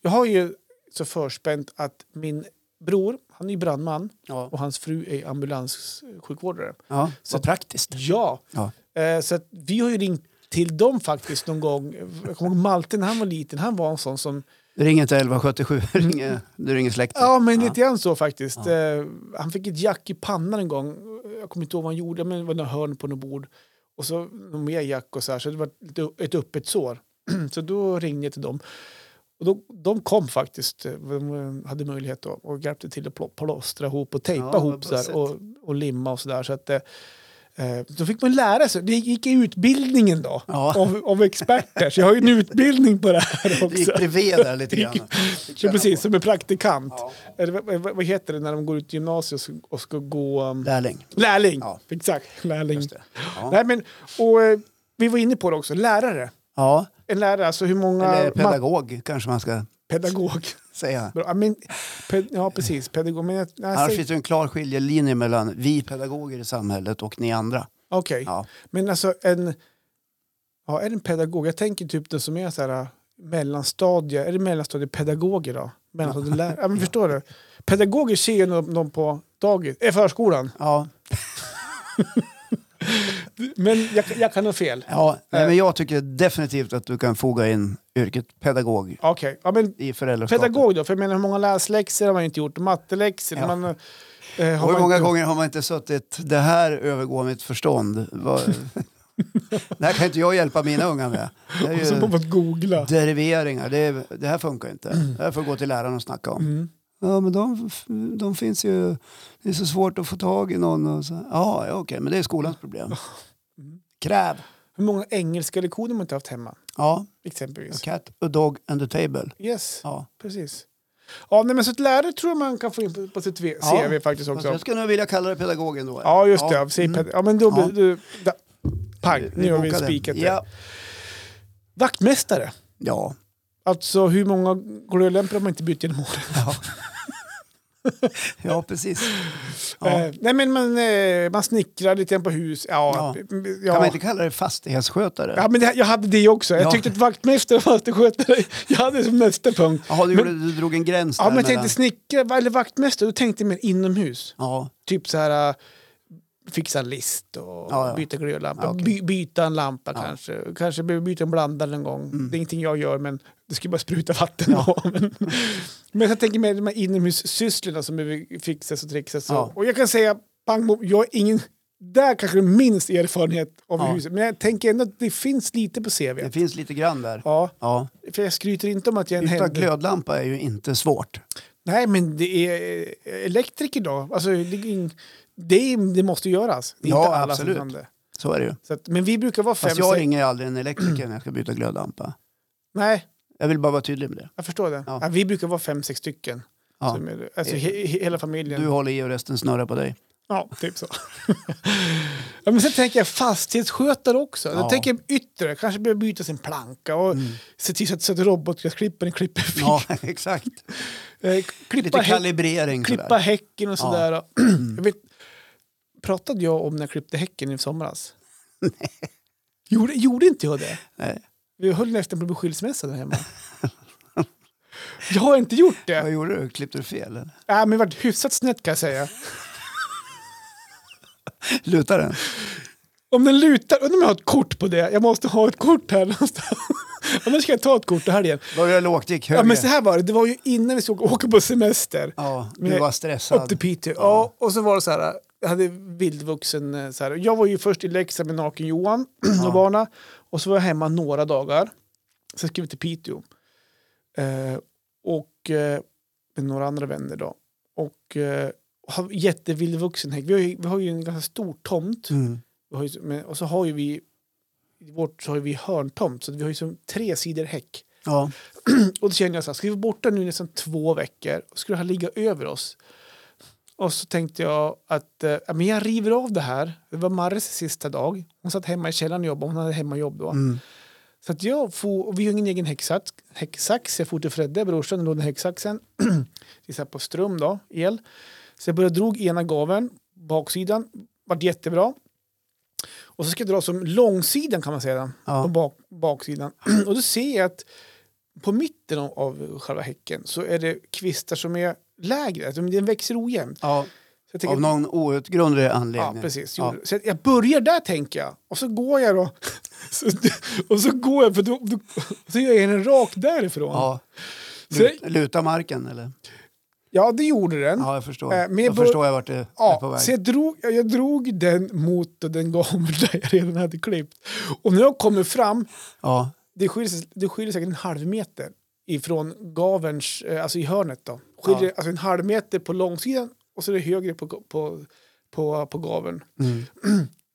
Jag har ju så förspänt att min bror, han är ju brandman Ja. och hans fru är ambulanssjukvårdare. Ja. Så Vad praktiskt. Ja, Ja. Eh, Så att vi har ju ringt till dem faktiskt någon gång. Jag kommer ihåg Malte när han var liten, han var en sån som... Ring inte 1177, [LAUGHS] ring, eh, du ringer släkten. Ja, men lite grann så faktiskt. Eh, Han fick ett jack i pannan en gång. Jag kommer inte ihåg vad han gjorde, men det var några hörn på något bord. Och så något mer jack och så här, så det var lite- ett öppet sår. [CLEARS THROAT] Så då ringde jag till dem. Och då, de kom faktiskt, eh, de hade möjlighet då, och hjälpte till att pl- plåstra ihop och tejpa Ja, vad ihop så bra här, sätt. och, och limma och sådär. Så att, eh, eh, då fick man lära sig, det gick i utbildningen då, Ja. av, av experter. Så jag har ju en utbildning på det [LAUGHS] här Det gick också. bredvid där [LAUGHS] lite Gick- grann. Fick Ja, känna precis, på. som en praktikant. Ja. Eller vad- vad, vad heter det när de går ut gymnasiet och ska, och ska gå... um, Lärling. lärling! Ja. Exakt, lärling. Just det. Ja. Nej, men, och, eh, vi var inne på det också, lärare. ja, En lärare, alltså hur många... eller ma- pedagog kanske man ska pedagog. [LAUGHS] säga. Bra, men, pe, ja, precis. Pedagog. Men, jag- nej, Annars säg- finns det en klar skiljelinje mellan vi pedagoger i samhället och ni andra. Okej. Ja. Men alltså en... Ja, är det en pedagog? Jag tänker typ den som är så här äh, mellanstadie... Är det mellanstadiepedagoger då? Mellanstadielärare? Ja, men förstår du? Pedagoger ser ju någon någon på dagis, äh, förskolan. Ja. Men jag, jag kan ha fel. Ja. Nej, Eh. men jag tycker definitivt att du kan foga in yrket pedagog Okej, ja, men i föräldraskapet. pedagog då? För jag menar hur många läsläxor har man inte gjort? Matteläxor? Ja. Man, eh, har Och hur man många inte- gånger har man inte suttit, det här övergår mitt förstånd. [LAUGHS] Vad- det här kan inte jag hjälpa mina unga med. Det är Och så ju- får man googla. Deriveringar, det, är- det här funkar inte. Det här får gå till läraren och snacka om. Mm. Ja, men de, de finns ju, det är så svårt att få tag i någon. Och så. Ja, ja, okej, men det är skolans problem. Kräv. Hur många engelska lektioner man inte haft hemma? Ja, Exempelvis. cat a dog and a table. Yes, Ja. precis. Ja, nej, men så ett lärare tror jag man kan få in på, på sitt v- Ja. CV faktiskt Fast också. jag skulle nog vilja kalla det pedagogen då. Mm. Ja, just det. Ja, säg ped- ja men då blir Ja. du... Da, pang, nu har vi bokade. spikat det. Ja. Vaktmästare. ja, Alltså hur många glödlampor har man inte bytt genom åren? Ja. Ja, precis. Ja. Eh, nej, men man, eh, man snickrar lite grann på hus. Ja. Ja, ja. Kan man inte kalla det fastighetsskötare? Ja, men det, jag hade det också. Jag Ja. tyckte att vaktmästare och fastighetsskötare, jag hade det som nästa punkt. Jaha, du, gjorde, men- du drog en gräns Ja, där men jag mellan- tänkte snickare eller vaktmästare, då tänkte jag mer inomhus. Ja, Typ så här, äh, fixa en list och Ja, ja. byta glödlampa, Ja, okej. by, byta en lampa Ja. Mm. kanske, kanske behöver byta en blandare en gång. Det är ingenting jag gör, men det ska ju bara spruta vatten Ja. av. [LAUGHS] Men, men jag tänker mer de här inomhussysslorna som behöver fixas och trixas. Ja. Och, och jag kan säga, pang, bom, jag är ingen, där kanske det är minst erfarenhet av Ja. huset, men jag tänker ändå att det finns lite på CV. det finns lite grann där. Ja, Ja. för jag skryter inte om att jag är en Byta händig... glödlampa är ju inte svårt. Nej, men det är eh, elektriker då. Alltså, det, är ing- det, är- det måste göras. Det är Ja, inte alla absolut. Som kan det. Så är det ju. Så att, men vi brukar vara fem, Fast jag sex- ringer aldrig en elektriker när jag ska byta glödlampa. Nej, Jag vill bara vara tydlig med det. jag förstår det. Ja. Ja. vi brukar vara fem, sex stycken. Ja. Som är, alltså, he, he, hela familjen. Du håller i och resten snurrar på dig. Ja, typ så. [LAUGHS] ja, men sen tänker jag fastighetsskötare också. Ja. Mm. Jag tänker jag yttre, kanske behöver byta sin planka och se till så att, så att robotgräsklipparen klipper fil. Ja, [LAUGHS] exakt. [LAUGHS] Eh, klippa Lite häck- kalibrering klippa sådär. häcken och sådär. [CLEARS THROAT] Jag vet, pratade jag om när jag klippte häcken i somras? Gjorde, gjorde inte jag det? Nej. Vi höll nästan på att bli skilsmässa där hemma. jag har inte gjort det. Vad gjorde du? Klippte du fel? eller? Nej, men det vart hyfsat snett kan jag säga. Lutar den? Om den lutar, undrar om jag har ett kort på det. Jag måste ha ett kort här någonstans. [LAUGHS] Annars ska jag ta ett kort i helgen. Började lågt, gick höger. Ja, men så här var det, det var ju innan vi skulle åka på semester. Ja, du Men- var Upp stressad. till Piteå. Ja. och så var det så här, jag hade vildvuxen eh, så här. Jag var ju först i Leksand med [CLEARS THROAT] Naken-Johan Ja. och barna. Och så var jag hemma några dagar. Sen skulle vi till Piteå. Eh, och eh, med några andra vänner då. Och eh, har jättevildvuxen häck. Vi har, ju, vi har ju en ganska stor tomt. Mm. Vi har ju, men, och så har ju vi, i vårt så har ju vi hörntomt. Så vi har ju som tre sidor häck. Ja. [CLEARS THROAT] Och då kände jag så här, ska vi vara borta nu i nästan två veckor? Och skulle han ligga över oss? Och så tänkte jag att eh, ja, men jag river av det här. Det var Marres sista dag. Hon satt hemma i källaren och jobbade. Hon hade hemmajobb då. Mm. Så att jag for, och vi har ingen egen häcksax. häcksax. Jag for till Fredde, brorsan, och lånade häcksaxen. [CLEARS THROAT] Det är så här på ström då, el. Så jag började drog ena gaveln, baksidan. Vart jättebra. Och så ska jag dra som långsidan kan man säga. Den på Ja. bak, baksidan. [CLEARS THROAT] Och då ser jag att på mitten av- av själva häcken så är det kvistar som är lägre. Alltså, den växer ojämnt. ja, Så jag tänker, av någon outgrundlig ja, anledning. precis. Ja. gjorde det. Så jag börjar där tänker jag. Och så går jag då. [LAUGHS] Så, och så går jag, för då, då, så gör jag den rak därifrån. Ja, Ja. Så Lut, jag- luta marken eller? det gjorde den. Ja. Ja, jag förstår. Eh, men Då jag bör- förstår jag vart det är på väg. så jag drog, jag, jag drog den mot den gaveln [LAUGHS] där jag redan hade klippt. Och när jag kommer fram Ja. det skiljer, sig- det skiljer säkert en halv meter ifrån gaverns, eh, alltså i hörnet då. Skiljer Ja. alltså en halv meter på långsidan och så är det högre på, på, på, på gaveln. Mm. [CLEARS THROAT]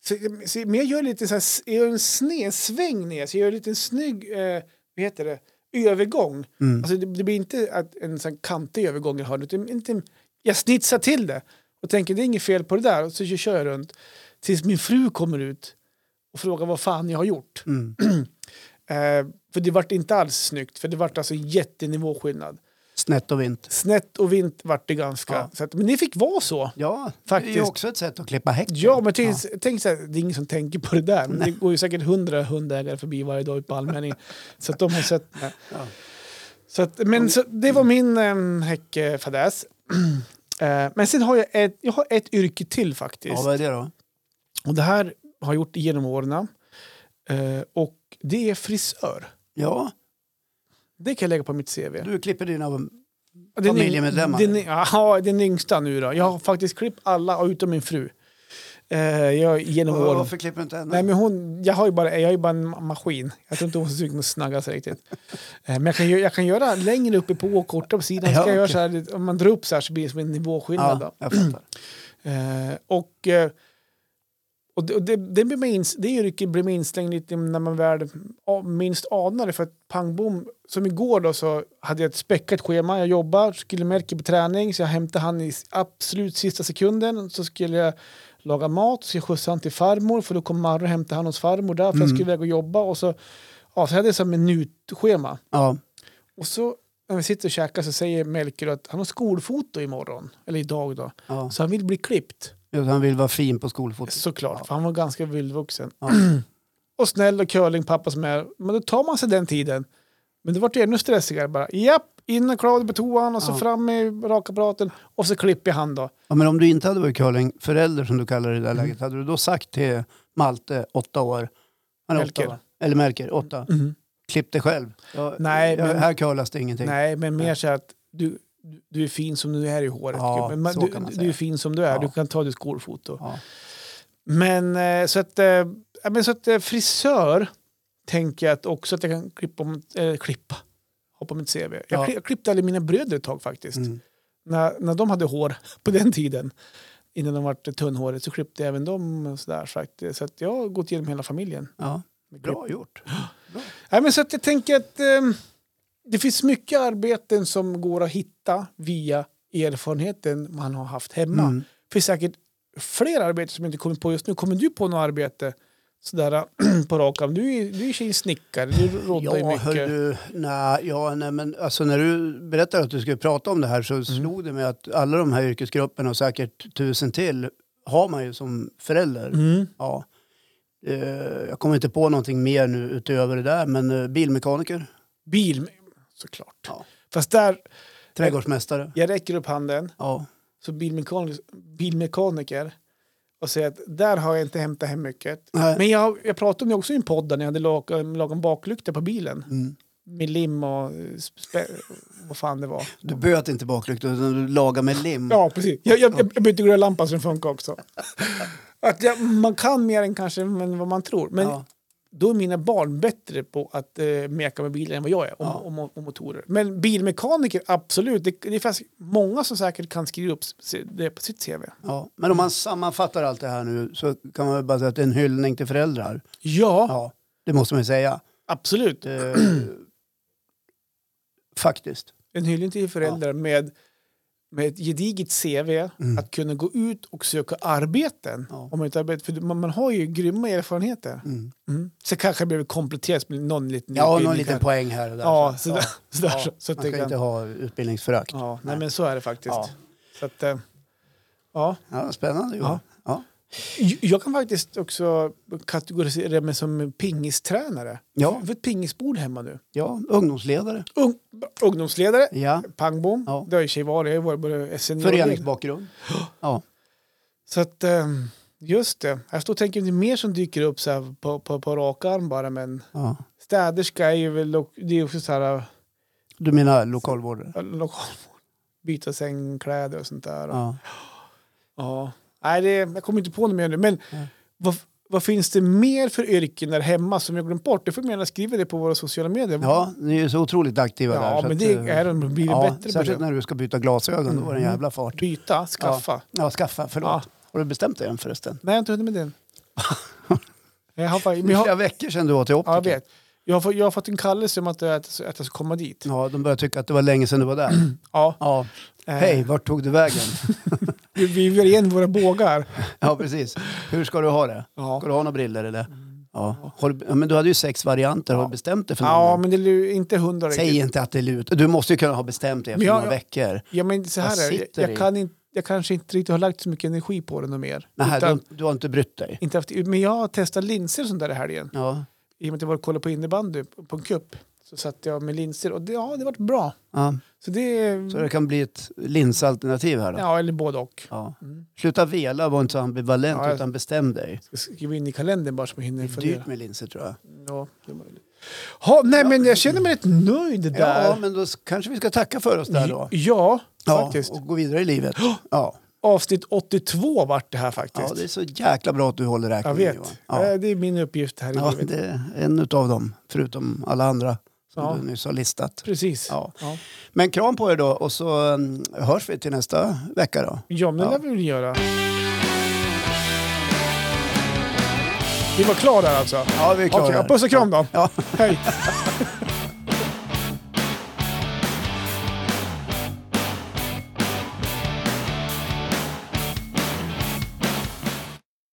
Så, så, men jag gör lite så här, s- jag gör en snedsväng ner, så jag gör en liten snygg, eh, vad heter det, övergång. Mm. Alltså det, det blir inte att en sån kantig övergång i hörnet, utan inte, jag snitsar till det och tänker det är inget fel på det där och så kör jag runt tills min fru kommer ut och frågar vad fan jag har gjort. Mm. Eh, för det vart inte alls snyggt, för det vart alltså en jättenivåskillnad. Snett och vint. Snett och vint vart det ganska. Ja. Så att, men det fick vara så. Ja, det är ju Faktiskt. också ett sätt att klippa häcken. Ja, men tänk, tänk så här, det är ingen som tänker på det där. Men det går ju säkert hundra hundägare förbi varje dag ute [LAUGHS] på allmänningen. så att de har sett det. Ja. Så att, men så, det var min äm, häckfadäs. [CLEARS THROAT] Eh, men sen har jag ett, jag har ett yrke till faktiskt. Ja, vad är det då? Och det här har jag gjort genom åren. Eh, och det är frisör. Ja, Det kan jag lägga på mitt CV. du klipper dina... Den yng- Familjemedlemmar? Den, y- ja, den yngsta nu då. Jag har faktiskt klippt alla utom min fru. Eh, jag, genom åren. Varför klipper du inte henne? Nej, men hon, jag, har ju bara, jag är ju bara en ma- maskin. Jag tror inte hon är sugen på att snagga sig riktigt. Eh, men jag kan, gö- jag kan göra längre uppe på och kortare på sidan. Ja, Ska jag göra okej. så här, lite- om man drar upp så här så blir det som en nivåskillnad. ja, Då. jag fattar. Eh, och, eh, och det, och det, det, blir man ins- det yrket blir man instängd lite när man väl a- minst anar det. För att pang bom, som igår då så hade jag ett späckat schema. Jag jobbar, skulle märka på träning så jag hämtade han i s- absolut sista sekunden. Så skulle jag laga mat, så jag skjutsade han till farmor för då kom Marre och hämtade han hos farmor där för jag skulle iväg och jobba. Och så, ja, så hade jag som en minutschema. Ja, Och så när vi sitter och käkar så säger Melker att han har skolfoto imorgon, eller idag då. Ja. Så han vill bli klippt, Just, Han vill vara fin på skolfotot. såklart, Ja. för han var ganska vildvuxen. Ja. [CLEARS THROAT] Och snäll och curlingpappa som är, men då tar man sig den tiden. Men det vart ju ännu stressigare bara. Japp, in och klar på toan och så Ja. fram med rakapparaten och så klipper han då. Ja, men om du inte hade varit curlingförälder som du kallar det i det Mm. där läget, hade du då sagt till Malte, åtta år, han är Melker. åtta, va? eller Melker, åtta, Mhm. klipp dig själv. Jag, Nej, jag, men- Här curlas det ingenting. Nej, men mer så här att du, du är fin som du är i håret. Ja, gubben. men så du, kan man du är säga. fin som du är, Ja. du kan ta ditt skolfoto. Ja. Men eh, så att, eh, ja, men så att eh, frisör tänker jag att också att jag kan klippa, om, eh, klippa hoppa mitt CV. Jag, Ja. kli- jag klippte alla mina bröder ett tag faktiskt. Mm. När, när de hade hår på den tiden, innan de var tunnhåriga, så klippte jag även dem. och Sådär, så att, så att jag har gått igenom hela familjen. Ja. med klipp. Bra gjort. Ja, men så att jag tänker att eh, det finns mycket arbeten som går att hitta via erfarenheten man har haft hemma. Mm. Det finns säkert fler arbeten som jag inte kommer på just nu. Kommer du på något arbete sådär [CLEARS THROAT] på rak arm? Du är du är ju snickare, du roddar ju Ja, mycket. hörru, nej, ja, nej, men alltså när du berättar att du skulle prata om det här Mm. så slog det mig att alla de här yrkesgrupperna och säkert tusen till har man ju som förälder. Mm. Ja. Eh, Jag kommer inte på någonting mer nu utöver det där, men eh, bilmekaniker, Bil, såklart. Ja. Fast där, trädgårdsmästare. jag räcker upp handen Ja. så bilmekaniker, bilmekaniker och säger att där har jag inte hämtat hem mycket. Nej. Men jag, jag pratade om det också i en podd där när jag hade lag- lagat en baklykta på bilen Mm. med lim och spä, vad fan det var. Du böt inte baklyktor utan du lagade med lim. Ja, precis. Jag, jag, jag bytte glödlampa så den funkar också. Att jag, man kan mer än kanske än vad man tror. Men Ja. då är mina barn bättre på att eh, meka med bilar än vad jag är och, Ja. och, och motorer. Men bilmekaniker, absolut. Det, det finns många som säkert kan skriva upp se- det på sitt CV. Ja. Men om man sammanfattar allt det här nu så kan man väl bara säga att det är en hyllning till föräldrar. Ja, Ja, det måste man ju säga. absolut. Eh, [CLEARS THROAT] Faktiskt. En hyllning till föräldrar med, med ett gediget CV att kunna gå ut och söka arbeten. Mm. Ja. Om man, inte arbetar, för man, man har ju grymma erfarenheter. Mm. Mm. Så kanske jag behöver kompletteras med någon liten Ja, någon utbildning liten kanske. poäng här och där. Ja, så, så, där, så, där, Ja, så, så att Man det ska kan... inte ha utbildningsförakt. Ja. Ja, nej, men så är det faktiskt. Ja. Så att, eh, ja. spännande. Johan. Ja. J- Jag kan faktiskt också kategorisera mig som pingistränare. Ja. För ett pingisbord hemma nu. Ja. ungdomsledare. Ung, ungdomsledare, Ja. pangbom. Ja. Det har ju i och för sig varit. Jag har ju varit både senior Föreningsbakgrund. Ja. Så att, eh, just det. Jag står och tänker om det är mer som dyker upp så här på, på, på rak arm bara. Men Ja. städerska är ju väl, och- det är ju också så här Du menar lokalvårdare? eh, lokalvård. Byta sängkläder och sånt där. Ja. Ja. Nej, det, jag kommer inte på något mer nu. Men Nej. vad, vad finns det mer för yrken där hemma som jag glömt bort? Du får gärna skriva det på våra sociala medier. ja, ni är ju så otroligt aktiva där. ja så men att, det eh, är de blivit ja, bättre på. Särskilt det. när du ska byta glasögon, då var det en jävla fart. Byta, skaffa. Ja, skaffa, förlåt. Ja. Har du bestämt dig än förresten? Nej, jag har inte hunnit [LAUGHS] med den. jag har, fa- men Det är jag, har- flera veckor sedan du var till optiker. ja, jag vet. Jag har, fått- jag har fått en kallelse om att, jag- att, jag- att jag ska komma dit. Ja, de börjar tycka att det var länge sedan du var där. Ja, Ja. Mm. eh, Hej, vart tog du vägen? Vi, vi vill igen våra bågar. Ja, precis. Hur ska du ha det? Ska Ja. du ha några briller eller? Ja. Har du, ja, men du hade ju sex varianter. Har du bestämt dig för någon? ja, men det är ju inte hundra Säg riktigt. inte att det är lut. Du måste ju kunna ha bestämt dig efter Men jag- några veckor. Ja, men så Vad här är det. sitter Jag, i? jag, kan inte, jag kanske inte riktigt har lagt så mycket energi på den och mer. Nej, Utan- du, du har inte brytt dig. Inte haft, men jag har testat linser och sånt där i helgen. Ja. I och med att jag var och kollade på innebandy på en cup. Så satt jag med linser och det, ja, det varit bra. ja. Så det, Så det kan bli ett linsalternativ här då? ja, eller både och. Ja. Mm. Sluta vela, var inte så ambivalent Ja, jag- utan bestäm dig. Jag ska skriva in i kalendern bara så jag hinner Det är dyrt fundera. med linser tror jag. Ja, det är möjligt. Ha, nej, men jag känner mig rätt nöjd där. Ja, men då s- kanske vi ska tacka för oss där då. Ja, Ja, faktiskt. och gå vidare i livet. Ja. Avsnitt 82 vart det här faktiskt. ja, det är så jäkla bra att du håller jag räkningen vet. Johan. Eh, Ja. Det är min uppgift här i Ja, livet. det är en utav dem, förutom alla andra som Ja. du nyss har listat. Precis. Ja. Ja. Men kram på er då och så mm, hörs vi till nästa vecka då. Ja, men det Ja. lär vi väl göra. Vi var klara där alltså? Ja, vi är klara. Okej, puss och kram då. Ja. Hej!